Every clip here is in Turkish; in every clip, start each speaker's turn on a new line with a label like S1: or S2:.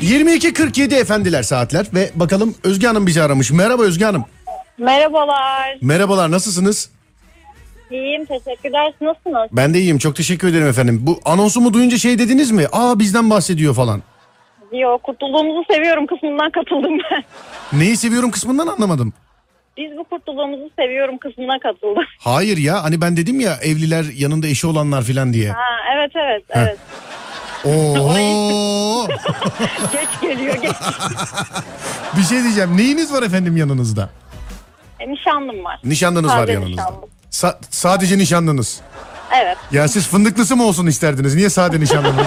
S1: 22.47 efendiler saatler ve bakalım Özge Hanım bizi aramış. Merhaba Özge Hanım.
S2: Merhabalar.
S1: Merhabalar nasılsınız?
S2: İyiyim. Teşekkürler. Nasılsınız?
S1: Ben de iyiyim çok teşekkür ederim efendim. Bu anonsumu duyunca şey dediniz mi? Aa bizden bahsediyor falan.
S2: Yo, kurtulduğumuzu seviyorum kısmından katıldım ben.
S1: Neyi seviyorum kısmından anlamadım.
S2: Biz bu kurtulduğumuzu seviyorum kısmına katıldık.
S1: Hayır ya hani ben dedim ya evliler yanında eşi olanlar filan diye.
S2: Ha, evet evet evet.
S1: Oo.
S2: geç geliyor geç.
S1: bir şey diyeceğim. Neyiniz var efendim yanınızda?
S2: E, nişanlım var.
S1: Nişanlınız var
S2: Sadece
S1: yanınızda.
S2: nişanlım.
S1: Sa- sadece nişanlınız.
S2: Evet.
S1: Ya siz fındıklısı mı olsun isterdiniz? Niye sade nişanlınız?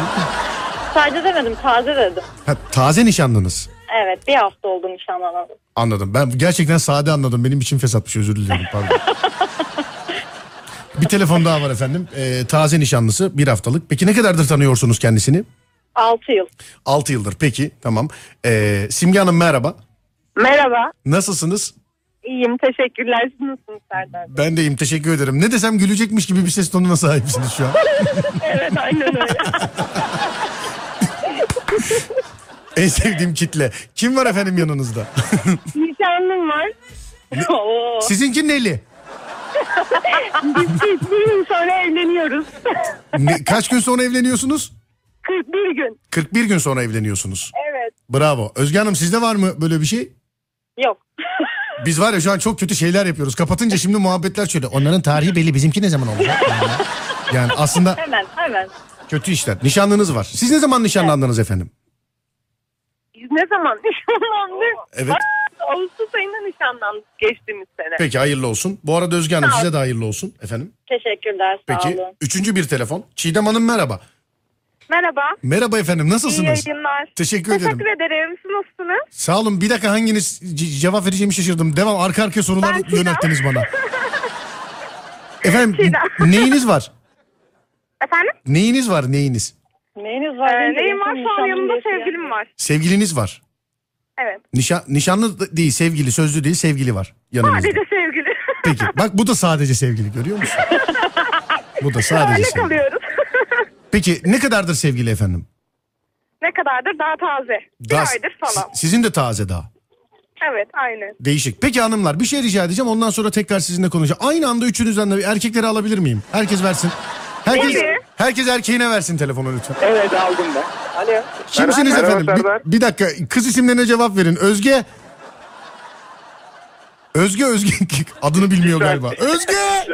S2: Sadece demedim taze dedim.
S1: Ha, taze nişanlınız.
S2: Evet bir hafta oldu nişanlanalı.
S1: Anladım. Ben gerçekten sade anladım. Benim için fesatmış özür dilerim. Pardon. bir telefon daha var efendim. Ee, taze nişanlısı bir haftalık. Peki ne kadardır tanıyorsunuz kendisini?
S2: 6 yıl.
S1: 6 yıldır. Peki tamam. Ee, Simge Hanım merhaba.
S2: Merhaba.
S1: Nasılsınız?
S2: İyiyim. Teşekkürler. Siz nasılsınız Serdar?
S1: Ben deyim teşekkür ederim. Ne desem gülecekmiş gibi bir ses tonuna sahipsiniz şu an.
S2: Evet aynen öyle.
S1: en sevdiğim kitle. Kim var efendim yanınızda?
S2: Nişanlım var. Oo.
S1: Sizinki neli?
S2: Biz bir gün sonra evleniyoruz.
S1: Ne- kaç gün sonra evleniyorsunuz?
S2: 41 gün.
S1: 41 gün sonra evleniyorsunuz.
S2: Evet.
S1: Bravo. Özge Hanım sizde var mı böyle bir şey?
S2: Yok.
S1: Biz var ya şu an çok kötü şeyler yapıyoruz. Kapatınca şimdi muhabbetler şöyle. Onların tarihi belli bizimki ne zaman olacak? yani aslında
S2: Hemen hemen.
S1: kötü işler. Nişanlınız var. Siz ne zaman nişanlandınız efendim?
S3: Biz ne zaman nişanlandık?
S1: Evet.
S3: Aa, Ağustos ayında nişanlandık geçtiğimiz sene.
S1: Peki hayırlı olsun. Bu arada Özge Hanım size de hayırlı olsun efendim.
S2: Teşekkürler. Sağ
S1: Peki
S2: olun.
S1: üçüncü bir telefon. Çiğdem Hanım merhaba.
S3: Merhaba.
S1: Merhaba efendim
S3: İyi
S1: nasılsınız?
S3: yayınlar.
S1: Teşekkür ederim.
S3: ederim. Siz nasılsınız?
S1: Sağ olun bir dakika hanginiz ce- cevap vereceğimi şaşırdım. Devam arka arkaya sorular
S3: Ben Çiğdem.
S1: yönelttiniz bana. efendim
S3: Çiğdem.
S1: neyiniz var?
S3: Efendim?
S1: Neyiniz var neyiniz?
S2: Neyiniz var?
S3: Ee,
S2: deyince
S3: neyim var?
S2: insan
S3: Şu an
S2: nişanlı
S3: yanımda
S2: diyorsun ya.
S3: sevgilim var.
S1: Sevgiliniz var.
S3: Evet.
S1: Nişan, nişanlı da- değil sevgili sözlü değil sevgili var yanınızda.
S3: Sadece sevgili.
S1: Peki bak bu da sadece sevgili görüyor musun? bu da sadece
S3: Öyle
S1: sevgili.
S3: kalıyoruz.
S1: Peki ne kadardır sevgili efendim?
S3: ne kadardır? Daha taze.
S1: Daha-
S3: Bir aydır falan.
S1: si- sizin de taze daha.
S3: Evet aynen.
S1: Değişik. Peki hanımlar bir şey rica edeceğim ondan sonra tekrar sizinle konuşacağım. Aynı anda üçünüzden de bir erkekleri alabilir miyim? Herkes versin. Herkes,
S3: Tabii.
S1: herkes erkeğine versin telefonu lütfen.
S4: Evet aldım ben. Alo.
S1: Kimsiniz
S4: Merhaba,
S1: efendim? Bir-
S4: Serdar.
S1: Bir, dakika kız isimlerine cevap verin. Özge. Özge Özge adını bilmiyor galiba. Özge.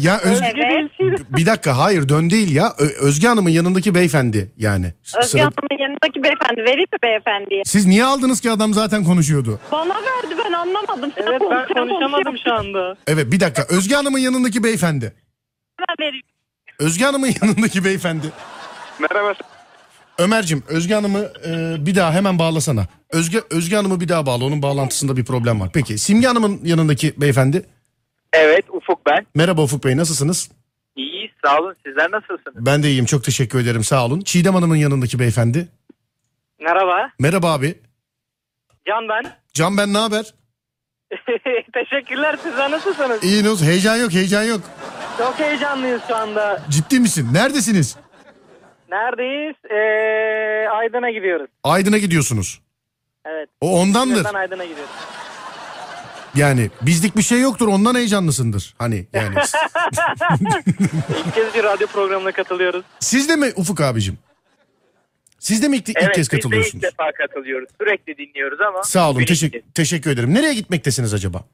S1: Ya Özge
S2: Evet.
S1: bir dakika hayır dön değil ya. Ö- Özge Hanım'ın yanındaki beyefendi yani. S-
S2: Özge
S1: sıra-
S2: Hanım'ın yanındaki beyefendi verir mi beyefendiye?
S1: Siz niye aldınız ki adam zaten konuşuyordu?
S2: Bana verdi ben anlamadım. şey Sen
S5: Evet ben
S2: konuşuyor,
S5: konuşamadım
S2: konuşuyor.
S5: şu anda.
S1: Evet bir dakika Özge Hanım'ın yanındaki beyefendi.
S2: Ben veriyorum.
S1: Özge Hanım'ın yanındaki beyefendi.
S4: Merhaba.
S1: Ömer'cim Özge Hanım'ı e, bir daha hemen bağlasana. Özge Özge Hanım'ı bir daha bağla onun bağlantısında bir problem var. Peki Simge Hanım'ın yanındaki beyefendi.
S4: Evet Ufuk ben.
S1: Merhaba Ufuk Bey nasılsınız?
S4: İyi sağ olun. Sizler nasılsınız?
S1: Ben de iyiyim çok teşekkür ederim sağ olun. Çiğdem Hanım'ın yanındaki beyefendi.
S5: Merhaba.
S1: Merhaba abi.
S5: Can ben.
S1: Can ben ne haber?
S5: Teşekkürler sizler nasılsınız?
S1: İyi Nuz heyecan yok heyecan yok.
S5: Çok heyecanlıyız şu anda.
S1: Ciddi misin? Neredesiniz?
S5: Neredeyiz? Ee, Aydın'a gidiyoruz.
S1: Aydın'a gidiyorsunuz.
S5: Evet.
S1: O ondandır.
S5: Sizden Aydın'a gidiyoruz.
S1: Yani bizlik bir şey yoktur ondan heyecanlısındır. Hani yani.
S5: İlk kez bir radyo programına katılıyoruz.
S1: Siz de mi Ufuk abicim? Siz de mi ilk, ilk
S4: Evet
S1: kez
S4: biz de ilk
S1: katılıyorsunuz?
S4: defa katılıyoruz. Sürekli dinliyoruz ama.
S1: Sağ olun
S4: Birinci.
S1: teşekkür, teşekkür ederim. Nereye gitmektesiniz acaba?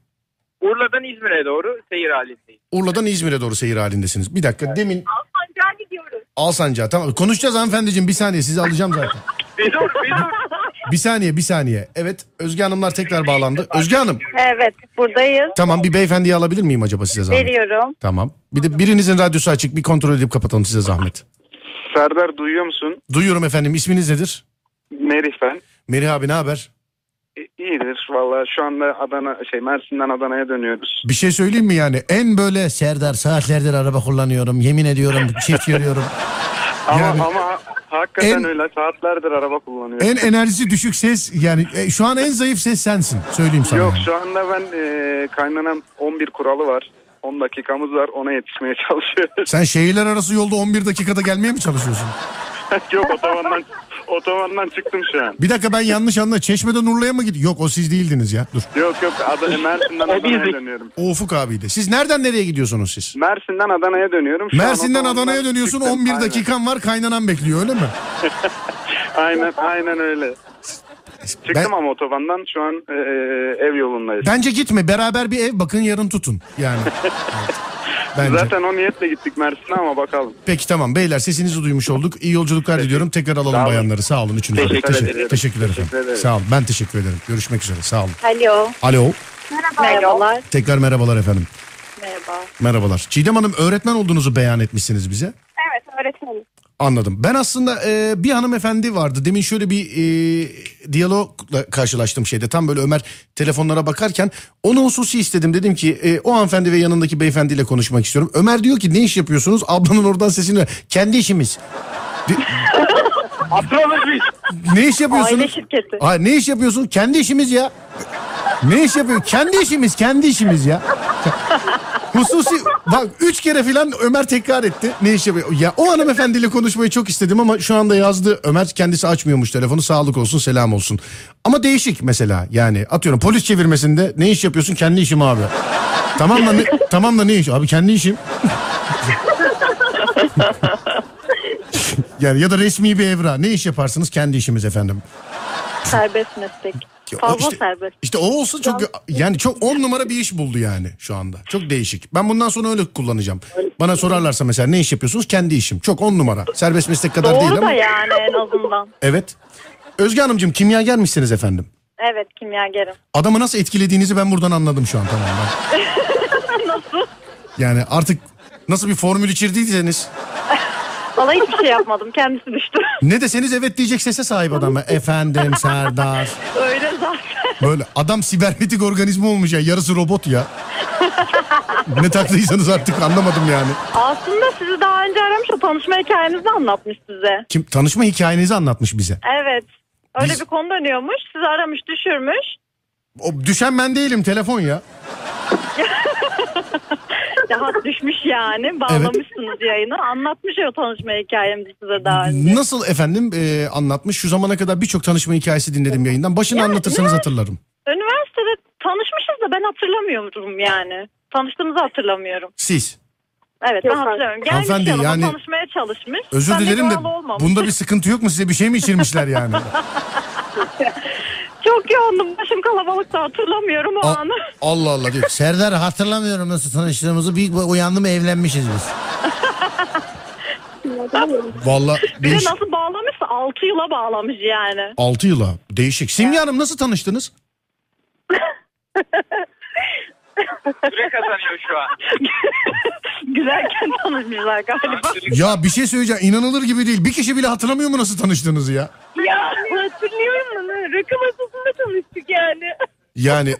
S4: Urla'dan İzmir'e doğru seyir halindeyiz.
S1: Urla'dan İzmir'e doğru seyir halindesiniz. Bir dakika demin
S3: Alsancak'a gidiyoruz.
S1: Alsancak'a tamam konuşacağız hanımefendiciğim bir saniye sizi alacağım zaten.
S4: Bir dur bir dur.
S1: Bir saniye bir saniye. Evet Özge Hanımlar tekrar bağlandı. Özge Hanım
S2: Evet buradayız.
S1: tamam bir beyefendiyi alabilir miyim acaba size zahmet?
S2: Veriyorum.
S1: Tamam. Bir de birinizin radyosu açık bir kontrol edip kapatalım size zahmet.
S6: Serdar duyuyor musun?
S1: Duyuyorum efendim isminiz nedir?
S6: Merih ben.
S1: Merih abi ne haber?
S6: E, İyidir valla şu anda Adana şey Mersin'den Adana'ya dönüyoruz.
S1: Bir şey söyleyeyim mi yani? En böyle Serdar saatlerdir araba kullanıyorum. Yemin ediyorum çift yürüyorum.
S6: Ama
S1: Yani-
S6: ama hakikaten
S1: En-
S6: öyle saatlerdir araba kullanıyorum.
S1: En enerjisi düşük ses yani e, şu an en zayıf ses sensin. Söyleyeyim sana.
S6: Yok
S1: yani.
S6: şu anda ben e, kaynanam 11 kuralı var. 10 dakikamız var ona yetişmeye çalışıyoruz.
S1: Sen şehirler arası yolda 11 dakikada gelmeye mi çalışıyorsun?
S6: Yok otobandan, otobandan çıktım şu an.
S1: Bir dakika ben yanlış anladım. Çeşme'den Urla'ya mı gidiyor? Yok o siz değildiniz ya. Dur.
S6: Yok yok Adana, Mersin'den Adana'ya
S5: bizdik.
S6: dönüyorum.
S1: O Ufuk abiydi. Siz nereden nereye gidiyorsunuz siz?
S6: Mersin'den Adana'ya dönüyorum. Şu an
S1: Mersin'den
S6: otobandan
S1: Adana'ya dönüyorsun
S6: çıktım.
S1: 11
S6: Aynen.
S1: dakikan var kaynanan bekliyor öyle mi?
S6: Aynen aynen öyle. Çıktım
S1: Ben-
S6: ama otobandan şu an e, e, ev yolundayız.
S1: Bence gitme beraber bir ev bakın yarın tutun yani. Evet. Bence.
S6: Zaten o niyetle gittik Mersin'e ama bakalım.
S1: Peki tamam beyler sesinizi duymuş olduk. İyi yolculuklar diliyorum. Tekrar alalım
S6: Sağ olun.
S1: bayanları. Sağ olun üçünüz.
S4: Teşekkür
S1: Teşekkür,
S4: ederim.
S1: teşekkürler
S6: Teşekkür
S1: efendim.
S6: ederim.
S1: Sağ olun. Ben teşekkür ederim. Görüşmek üzere. Sağ olun.
S2: Alo.
S1: Alo.
S2: Merhabalar.
S1: Tekrar merhabalar efendim.
S2: Merhaba.
S1: Merhabalar. Çiğdem Hanım öğretmen olduğunuzu beyan etmişsiniz bize.
S3: Evet öğretmenim.
S1: Anladım. Ben aslında e, bir hanımefendi vardı. Demin şöyle bir e, diyalogla karşılaştım şeyde. Tam böyle Ömer telefonlara bakarken onu hususi istedim. Dedim ki e, o hanımefendi ve yanındaki beyefendiyle konuşmak istiyorum. Ömer diyor ki ne iş yapıyorsunuz? Ablanın oradan sesini ver. Kendi işimiz.
S5: Astroloji.
S1: Ne iş yapıyorsunuz?
S2: Aile şirketi.
S1: Ay, ne iş yapıyorsun? Kendi işimiz ya. Ne iş yapıyor? Kendi işimiz, kendi işimiz ya. Hususi bak üç kere filan Ömer tekrar etti. Ne iş yapıyor? Ya o hanımefendiyle konuşmayı çok istedim ama şu anda yazdı. Ömer kendisi açmıyormuş telefonu. Sağlık olsun, selam olsun. Ama değişik mesela yani atıyorum polis çevirmesinde ne iş yapıyorsun? Kendi işim abi. tamam da ne, tamam da ne iş? Abi kendi işim. yani ya da resmi bir evra. Ne iş yaparsınız? Kendi işimiz efendim.
S2: Serbest meslek.
S1: Ya Ah. o
S2: Fazla
S1: işte,
S2: serbest.
S1: işte o olsa çok yani çok on numara bir iş buldu yani şu anda. Çok değişik. Ben bundan sonra öyle kullanacağım. Bana sorarlarsa mesela ne iş yapıyorsunuz? Kendi işim. Çok on numara. Serbest meslek kadar değil
S2: Doğru
S1: ama.
S2: da yani en azından.
S1: Evet. Özge Hanımcığım kimya gelmişsiniz efendim.
S2: Evet kimyagerim.
S1: Adamı nasıl etkilediğinizi ben buradan anladım şu an tamamen. nasıl? Yani artık nasıl bir formül içirdiyseniz
S2: Valla hiçbir şey yapmadım. Kendisi düştü.
S1: ne deseniz evet diyecek sese sahip adam. Efendim Serdar.
S2: Öyle zaten.
S1: Böyle adam sibernetik organizma olmuş ya. Yarısı robot ya. ne taktıysanız artık anlamadım yani.
S2: Aslında sizi daha önce aramış. O tanışma hikayenizi anlatmış size.
S1: Kim tanışma hikayenizi anlatmış bize.
S2: Evet. Öyle
S1: Biz-
S2: bir konu dönüyormuş. Sizi aramış düşürmüş.
S1: O düşen ben değilim telefon ya.
S2: Daha düşmüş yani. Bağlamışsınız yayını. Anlatmış ya o tanışma hikayemizi size daha önce.
S1: Nasıl efendim e, anlatmış? Şu zamana kadar birçok tanışma hikayesi dinledim yayından. Başını anlatırsanız hatırlarım.
S2: Üniversitede tanışmışız da ben hatırlamıyorum yani. Tanıştığımızı hatırlamıyorum.
S1: Siz.
S2: Evet ben
S3: Yok,
S2: hatırlamıyorum. Gelmiş
S1: Hanımefendi,
S2: yanıma
S1: yani-
S2: tanışmaya çalışmış.
S1: Özür
S2: Ben
S1: dilerim de
S2: doğal olmamış.
S1: bunda bir sıkıntı yok mu? Size bir şey mi içirmişler yani?
S2: Çok yoğundum. Başım kalabalıkta hatırlamıyorum o
S7: Al-
S2: anı.
S7: Allah Allah diyor. Serdar hatırlamıyorum nasıl tanıştığımızı. Bir uyandım evlenmişiz biz.
S1: Vallahi
S2: Bir de
S1: değiş...
S2: nasıl bağlamışsa 6 yıla bağlamış yani.
S1: 6 yıla değişik. Simge Hanım nasıl tanıştınız?
S4: Süre kazanıyor şu an.
S2: Gülerken tanışmışlar galiba.
S1: Ya bir şey söyleyeceğim inanılır gibi değil. Bir kişi bile hatırlamıyor mu nasıl tanıştığınızı ya?
S3: Ya hatırlıyorum onu. Rakı masasında tanıştık yani.
S1: Yani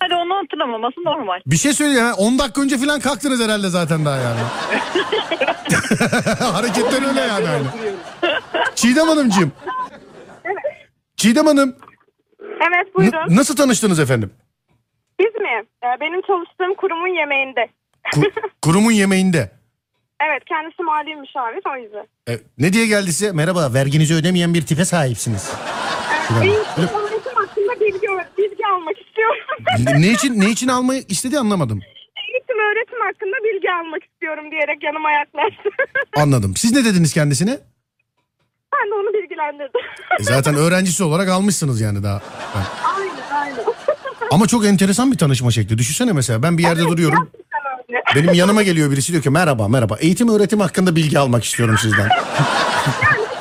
S2: Hadi onu hatırlamaması normal.
S1: bir şey söyleyeyim. ha, 10 dakika önce falan kalktınız herhalde zaten daha yani. Hareketler öyle yani. hani. Çiğdem Hanımcığım. Çiğdem Hanım
S3: Evet
S1: n-
S3: buyurun.
S1: nasıl tanıştınız efendim?
S3: Biz mi? Ee, Benim çalıştığım kurumun yemeğinde.
S1: Ku- kurumun yemeğinde.
S3: Evet kendisi mali müşavir o yüzden.
S1: E, ne diye geldi size? Merhaba verginizi ödemeyen bir tipe sahipsiniz. Şuraya.
S3: Biz onun için hakkında bilgi, bilgi almak istiyorum.
S1: Ne- ne için ne için almayı istedi anlamadım.
S3: Eğitim öğretim hakkında bilgi almak istiyorum diyerek yanıma yaklaştı.
S1: Anladım. Siz ne dediniz kendisine?
S3: ben de onu bilgilendirdim.
S1: E, zaten öğrencisi olarak almışsınız yani daha. Ha.
S3: aynen aynen.
S1: Ama çok enteresan bir tanışma şekli. Düşünsene mesela ben bir yerde duruyorum.
S3: Gerçekten öyle.
S1: Benim yanıma geliyor birisi diyor ki merhaba merhaba. Eğitim öğretim hakkında bilgi almak istiyorum sizden.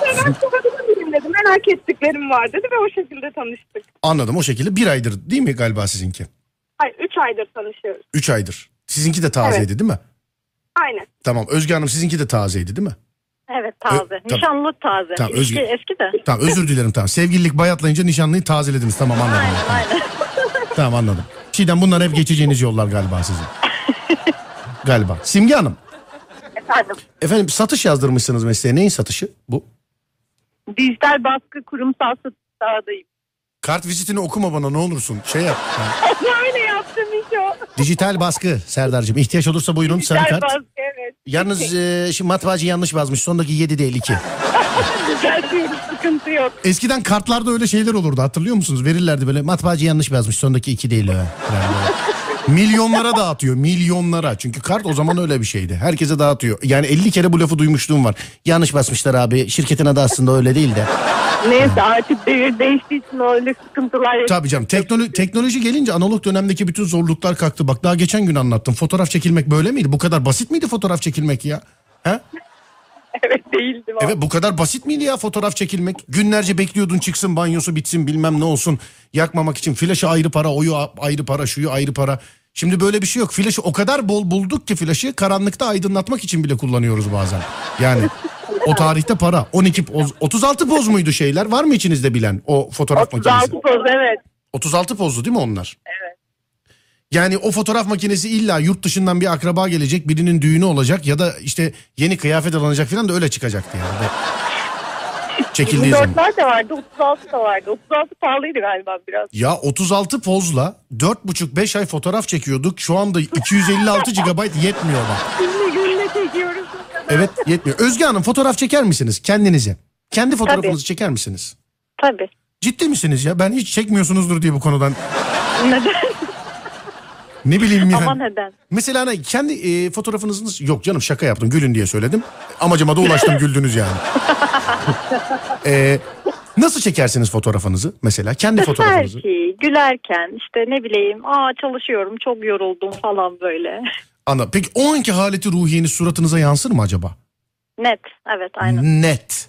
S3: Şeyler sorabilir miyim dedi. Merak ettiklerim var dedi ve o şekilde tanıştık.
S1: Anladım o şekilde. Bir aydır değil mi galiba sizinki?
S3: Hayır 3 aydır tanışıyoruz.
S1: Üç aydır. Sizinki de tazeydi değil mi?
S3: Aynen.
S1: Tamam Özge Hanım sizinki de tazeydi değil mi?
S2: Evet taze.
S1: tabii.
S2: Nişanlılık taze.
S1: Tamam,
S2: eski,
S1: özgür.
S2: eski de.
S1: Tamam özür dilerim tamam. Sevgililik bayatlayınca nişanlıyı tazelediniz tamam anladım.
S2: Aynen aynen.
S1: Tamam anladım. Çiğdem bunlar hep geçeceğiniz yollar galiba sizin. galiba. Simge Hanım.
S8: Efendim,
S1: Efendim satış yazdırmışsınız mesleğe. Neyin satışı bu?
S8: dijital baskı kurumsal satışlardayım.
S1: Kart vizitini okuma bana ne olursun. Şey yap. Ha.
S8: Öyle yaptım iş o.
S1: Dijital baskı Serdar'cığım. İhtiyaç olursa buyurun sarı
S8: Dijital
S1: kart.
S8: baskı, evet.
S7: Yalnız e, şimdi matbaacı yanlış yazmış. Sondaki 7 değil 2.
S8: Düzeltiyoruz sıkıntı yok.
S1: Eskiden kartlarda öyle şeyler olurdu hatırlıyor musunuz? Verirlerdi böyle matbaacı yanlış yazmış sondaki iki değil. ha. Yani böyle. milyonlara dağıtıyor milyonlara. Çünkü kart o zaman öyle bir şeydi. Herkese dağıtıyor. Yani 50 kere bu lafı duymuşluğum var. Yanlış basmışlar abi. Şirketin adı aslında öyle değil de.
S8: Neyse artık devir değiştiği için öyle sıkıntılar yok.
S1: Tabii canım teknolo- teknoloji gelince analog dönemdeki bütün zorluklar kalktı. Bak daha geçen gün anlattım. Fotoğraf çekilmek böyle miydi? Bu kadar basit miydi fotoğraf çekilmek ya? He?
S8: Evet değildi.
S1: Evet bu kadar basit miydi ya fotoğraf çekilmek? Günlerce bekliyordun çıksın banyosu bitsin bilmem ne olsun. Yakmamak için flaşı ayrı para, oyu a- ayrı para, şuyu ayrı para. Şimdi böyle bir şey yok. Flaşı o kadar bol bulduk ki flaşı karanlıkta aydınlatmak için bile kullanıyoruz bazen. Yani o tarihte para. 12 poz, 36 poz muydu şeyler? Var mı içinizde bilen o fotoğraf makinesi?
S8: 36 poz evet.
S1: 36 pozlu değil mi onlar? Evet. Yani o fotoğraf makinesi illa yurt dışından bir akraba gelecek, birinin düğünü olacak ya da işte yeni kıyafet alınacak falan da öyle çıkacaktı yani. Ve- Çekildiği zaman.
S8: 24'ler de vardı 36 da vardı. 36 pahalıydı galiba biraz.
S1: Ya 36 pozla 4,5-5 ay fotoğraf çekiyorduk. Şu anda 256 GB yetmiyor bak.
S8: Günle günle çekiyoruz.
S1: Evet yetmiyor. Özge Hanım fotoğraf çeker misiniz kendinize? Kendi fotoğrafınızı çeker misiniz?
S2: Tabii.
S1: Ciddi misiniz ya? Ben hiç çekmiyorsunuzdur diye bu konudan.
S2: Neden?
S1: Ne bileyim yani.
S2: Ama neden?
S1: Mesela ne, kendi e, fotoğrafınızınız yok canım şaka yaptım gülün diye söyledim. Amacıma da ulaştım güldünüz yani. E, nasıl çekersiniz fotoğrafınızı mesela kendi
S2: Her
S1: fotoğrafınızı?
S2: şeyi gülerken işte ne bileyim aa çalışıyorum çok yoruldum falan böyle.
S1: Anla. Peki o anki haleti ruhiyeniz suratınıza yansır mı acaba?
S2: Net evet aynen.
S1: Net.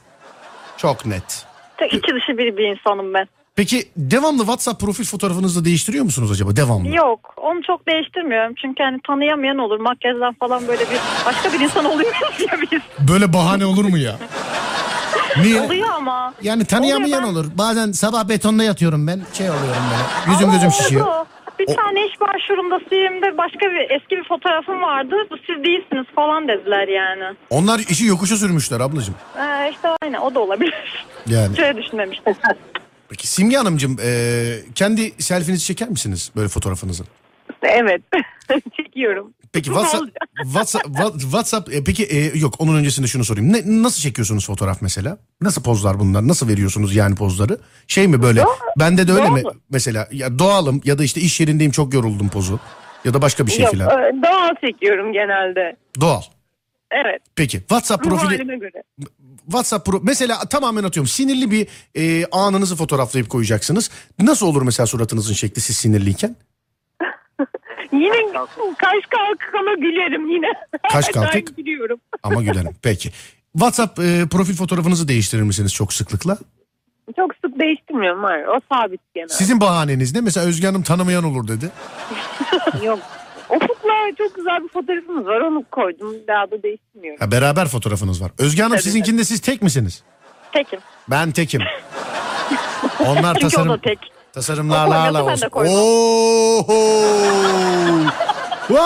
S1: Çok net.
S2: Tek içi dışı bir bir insanım ben.
S1: Peki devamlı WhatsApp profil fotoğrafınızı da değiştiriyor musunuz acaba devamlı?
S2: Yok onu çok değiştirmiyorum çünkü hani tanıyamayan olur makyajdan falan böyle bir başka bir insan oluyor ya biz.
S1: Böyle bahane olur mu ya? Niye?
S2: Oluyor ama.
S7: Yani tanıyamayan
S2: Oluyor
S7: olur. Bazen sabah betonda yatıyorum ben. Şey oluyorum böyle. Yüzüm gözüm
S2: Ama
S7: şişiyor.
S2: oldu. Bir tane iş başvurumda CV'mde başka bir eski bir fotoğrafım vardı. Bu siz değilsiniz falan dediler yani.
S1: Onlar işi yokuşa sürmüşler ablacığım.
S2: Ee, işte aynı o da olabilir.
S1: Yani.
S2: Şöyle düşünmemiştim.
S1: Peki Simge Hanımcığım e, kendi selfinizi çeker misiniz böyle fotoğrafınızı?
S8: Evet çekiyorum.
S1: Peki WhatsApp, WhatsApp, Wha- WhatsApp e, peki e, yok onun öncesinde şunu sorayım. Ne, nasıl çekiyorsunuz fotoğraf mesela? Nasıl pozlar bunlar? Nasıl veriyorsunuz yani pozları? Şey mi böyle? Bende de öyle mi? Mesela ya doğalım ya da işte iş yerindeyim çok yoruldum pozu. Ya da başka bir şey
S8: Yok,
S1: filan.
S8: e, doğal çekiyorum genelde.
S1: Doğal.
S8: Evet
S1: Peki WhatsApp
S8: ruh
S1: profili
S8: halime göre.
S1: WhatsApp pro, mesela tamamen atıyorum sinirli bir e, anınızı fotoğraflayıp koyacaksınız. Nasıl olur mesela suratınızın şekli siz sinirliyken?
S8: Yine kaş kalkık ama gülerim yine.
S1: Kaş
S8: Her daim
S1: kalkık?
S8: Gülüyorum.
S1: Ama gülerim. Peki. WhatsApp e, profil fotoğrafınızı değiştirir misiniz çok sıklıkla?
S8: Çok sık değiştirmiyorum var. O sabit genelde.
S1: Sizin bahaneniz ne? Mesela Özge Hanım tanımayan olur dedi.
S8: Yok. Ufuk'la çok güzel bir fotoğrafımız var. Onu koydum. Daha da değiştirmiyorum.
S1: Ha, beraber fotoğrafınız var. Özge Hanım sizinkinde siz tek misiniz?
S2: Tekim.
S1: Ben tekim. Onlar
S2: Çünkü o
S1: tasarım,
S2: da tek.
S1: tasarımlarla
S2: O koymadı,
S1: hala
S2: ben de
S1: olsun.
S2: koydum.
S1: Oho!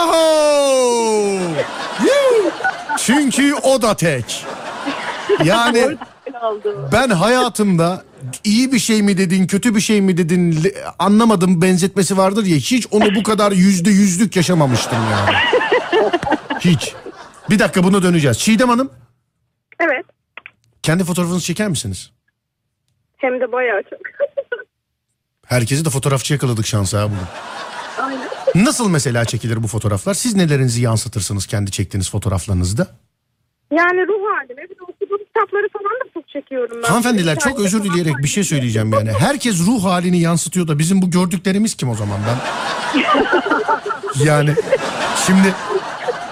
S1: Wow! Yuh! Çünkü o da tek. Yani
S8: Aldı.
S1: ben hayatımda iyi bir şey mi dedin, kötü bir şey mi dedin li- anlamadım benzetmesi vardır ya. Hiç onu bu kadar yüzde yüzlük yaşamamıştım yani. Hiç. Bir dakika buna döneceğiz. Çiğdem Hanım
S3: Evet.
S1: kendi fotoğrafınızı çeker misiniz?
S3: Hem de bayağı çok.
S1: Herkesi de fotoğrafçı yakaladık şansa ha bugün. Nasıl mesela çekilir bu fotoğraflar? Siz nelerinizi yansıtırsınız kendi çektiğiniz fotoğraflarınızda?
S3: Yani ruh halime bir de okuduğum kitapları falan da çok çekiyorum ben.
S1: Hanımefendiler çok özür dileyerek bir şey söyleyeceğim yani. Herkes ruh halini yansıtıyor da bizim bu gördüklerimiz kim o zaman ben? yani şimdi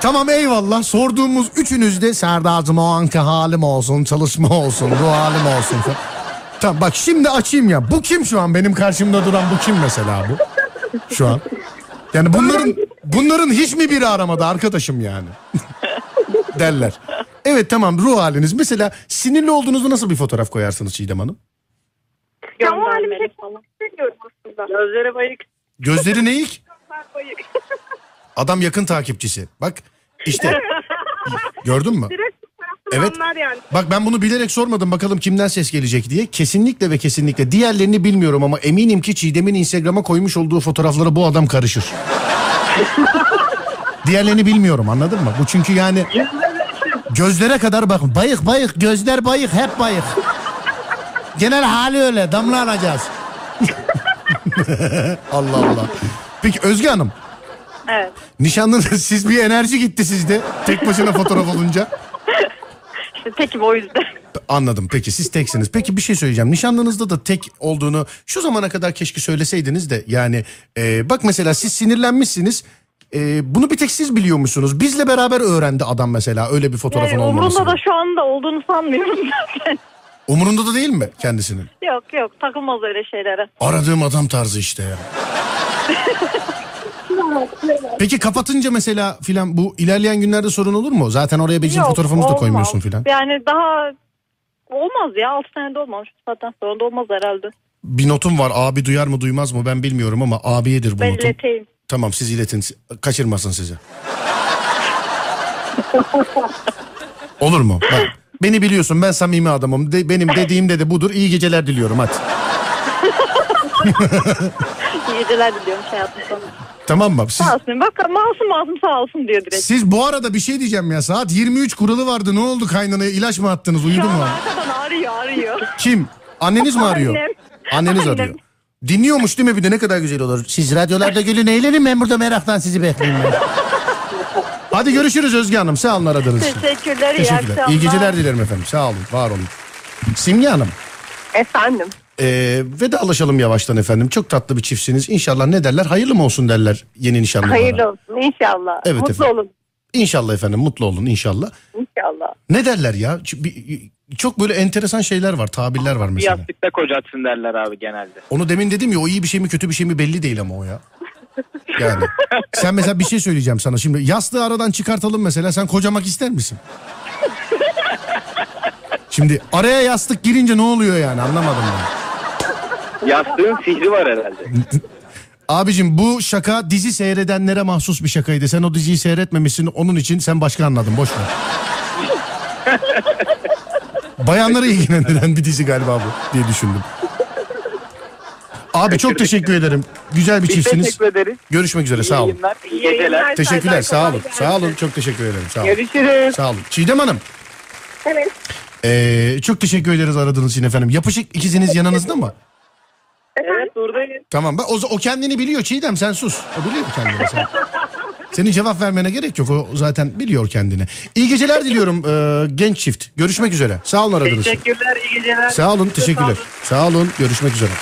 S1: tamam eyvallah sorduğumuz üçünüz de Serdar'cım o anki halim olsun çalışma olsun ruh halim olsun. falan. Tamam bak şimdi açayım ya bu kim şu an benim karşımda duran bu kim mesela bu şu an? Yani bunların bunların hiç mi biri aramadı arkadaşım yani? derler. Evet tamam ruh haliniz. Mesela sinirli olduğunuzda nasıl bir fotoğraf koyarsınız Çiğdem Hanım?
S3: Ya o halimi
S8: Göndermeli
S3: çekmek
S8: falan.
S3: istemiyorum aslında.
S8: Gözlere bayık.
S1: Gözleri ne ilk?
S3: Ben bayık.
S1: Adam yakın takipçisi. Bak işte. Gördün mü?
S3: Direkt fotoğraftan
S1: Evet.
S3: anlar yani.
S1: Bak ben bunu bilerek sormadım bakalım kimden ses gelecek diye. Kesinlikle ve kesinlikle diğerlerini bilmiyorum ama eminim ki Çiğdem'in Instagram'a koymuş olduğu fotoğraflara bu adam karışır. diğerlerini bilmiyorum anladın mı? Bu çünkü yani
S8: Yüzde
S7: Gözlere kadar bakın. Bayık bayık. Gözler bayık. Hep bayık. Genel hali öyle. Damla alacağız.
S1: Allah Allah. Peki Özge Hanım.
S2: Evet.
S1: Nişanlınız siz bir enerji gitti sizde. Tek başına fotoğraf olunca.
S2: İşte tekim o yüzden.
S1: Anladım. Peki siz teksiniz. Peki bir şey söyleyeceğim. Nişanlınızda da tek olduğunu şu zamana kadar keşke söyleseydiniz de. Yani e, bak mesela siz sinirlenmişsiniz. E, bunu bir tek siz biliyormuşsunuz. Bizle beraber öğrendi adam mesela öyle bir fotoğrafın
S2: Yani
S1: olmaması.
S2: Ee, umurumda da şu anda olduğunu sanmıyorum zaten.
S1: Umurunda da değil mi kendisinin?
S2: yok yok takılmaz öyle şeylere.
S1: Aradığım adam tarzı işte ya. Peki kapatınca mesela filan bu ilerleyen günlerde sorun olur mu? Zaten oraya bizim
S2: Yok,
S1: fotoğrafımızı da
S2: olmaz.
S1: koymuyorsun filan.
S2: Yani daha olmaz ya 6 senede olmamış. Zaten sonra da olmaz herhalde.
S1: Bir notum var abi duyar mı duymaz mı ben bilmiyorum ama abiyedir bu
S2: Ben
S1: notum.
S2: ileteyim.
S1: Tamam siz iletin kaçırmasın sizi. Olur mu? Bak, beni biliyorsun ben samimi adamım. De- benim dediğim de de budur. İyi geceler diliyorum hadi.
S2: İyi geceler diliyorum şey yaptım sana.
S1: Tamam mı? Siz,
S2: Sağ olsun. Bak masum masum sağ olsun diyor direkt.
S1: siz bu arada bir şey diyeceğim ya saat 23 kuralı vardı ne oldu kaynanaya ilaç mı attınız
S2: Şu
S1: uyudu mu?
S2: an arkadan ağrıyor ağrıyor.
S1: Kim? Anneniz mi arıyor?
S2: Annem.
S1: Anneniz
S2: Annem.
S1: arıyor. Dinliyormuş değil mi bir de ne kadar güzel olur.
S7: Siz radyolarda gülün eğlenin. Ben burada meraktan sizi bekliyorum.
S1: Hadi görüşürüz Özge Hanım sağ olun aradığınız için.
S2: Teşekkürler. iyi
S1: Teşekkürler.
S2: akşamlar.
S1: İyi geceler dilerim efendim sağ olun var olun. Simge Hanım.
S8: Efendim.
S1: Ee, vedalaşalım yavaştan efendim. Çok tatlı bir çiftsiniz. İnşallah ne derler? Hayırlı mı olsun derler yeni nişanlılara.
S8: Hayırlı olsun inşallah.
S1: Evet
S8: Mutlu
S1: efendim.
S8: olun
S1: İnşallah efendim mutlu olun inşallah.
S8: inşallah.
S1: Ne derler ya? Ç- bir- Çok böyle enteresan şeyler var, tabirler var
S5: Bir
S1: mesela.
S5: yastıkta kocatsın derler abi genelde.
S1: Onu demin dedim ya o iyi bir şey mi kötü bir şey mi belli değil ama o ya. Yani sen mesela bir şey söyleyeceğim sana şimdi. Yastığı aradan çıkartalım mesela sen kocamak ister misin? Şimdi araya yastık girince ne oluyor yani anlamadım ben.
S5: Yastığın sihri var herhalde.
S1: Abicim bu şaka dizi seyredenlere mahsus bir şakaydı. Sen o diziyi seyretmemişsin onun için sen başka anladın boş ver. Bayanları ilgilendiren bir dizi galiba bu diye düşündüm. Abi çok teşekkür ederim. Güzel bir
S5: Biz
S1: çiftsiniz.
S5: teşekkür ederiz.
S1: Görüşmek üzere
S5: İyi
S1: sağ olun.
S5: yayınlar, iyi geceler.
S1: Teşekkürler sağ olun. Sağ olun çok teşekkür ederim. Sağ olun.
S5: Görüşürüz.
S1: Sağ olun. Çiğdem Hanım.
S3: Evet.
S1: ee, çok teşekkür ederiz aradığınız için efendim. Yapışık ikiziniz yanınızda mı?
S5: Evet buradayız.
S1: Tamam bak o, o kendini biliyor Çiğdem sen sus. O biliyor kendini sen. Senin cevap vermene gerek yok. O zaten biliyor kendini. İyi geceler diliyorum ee, genç çift. Görüşmek üzere. Sağ olun aradığınız için.
S5: Teşekkürler iyi geceler.
S1: Sağ olun teşekkürler. Sağ olun görüşmek üzere.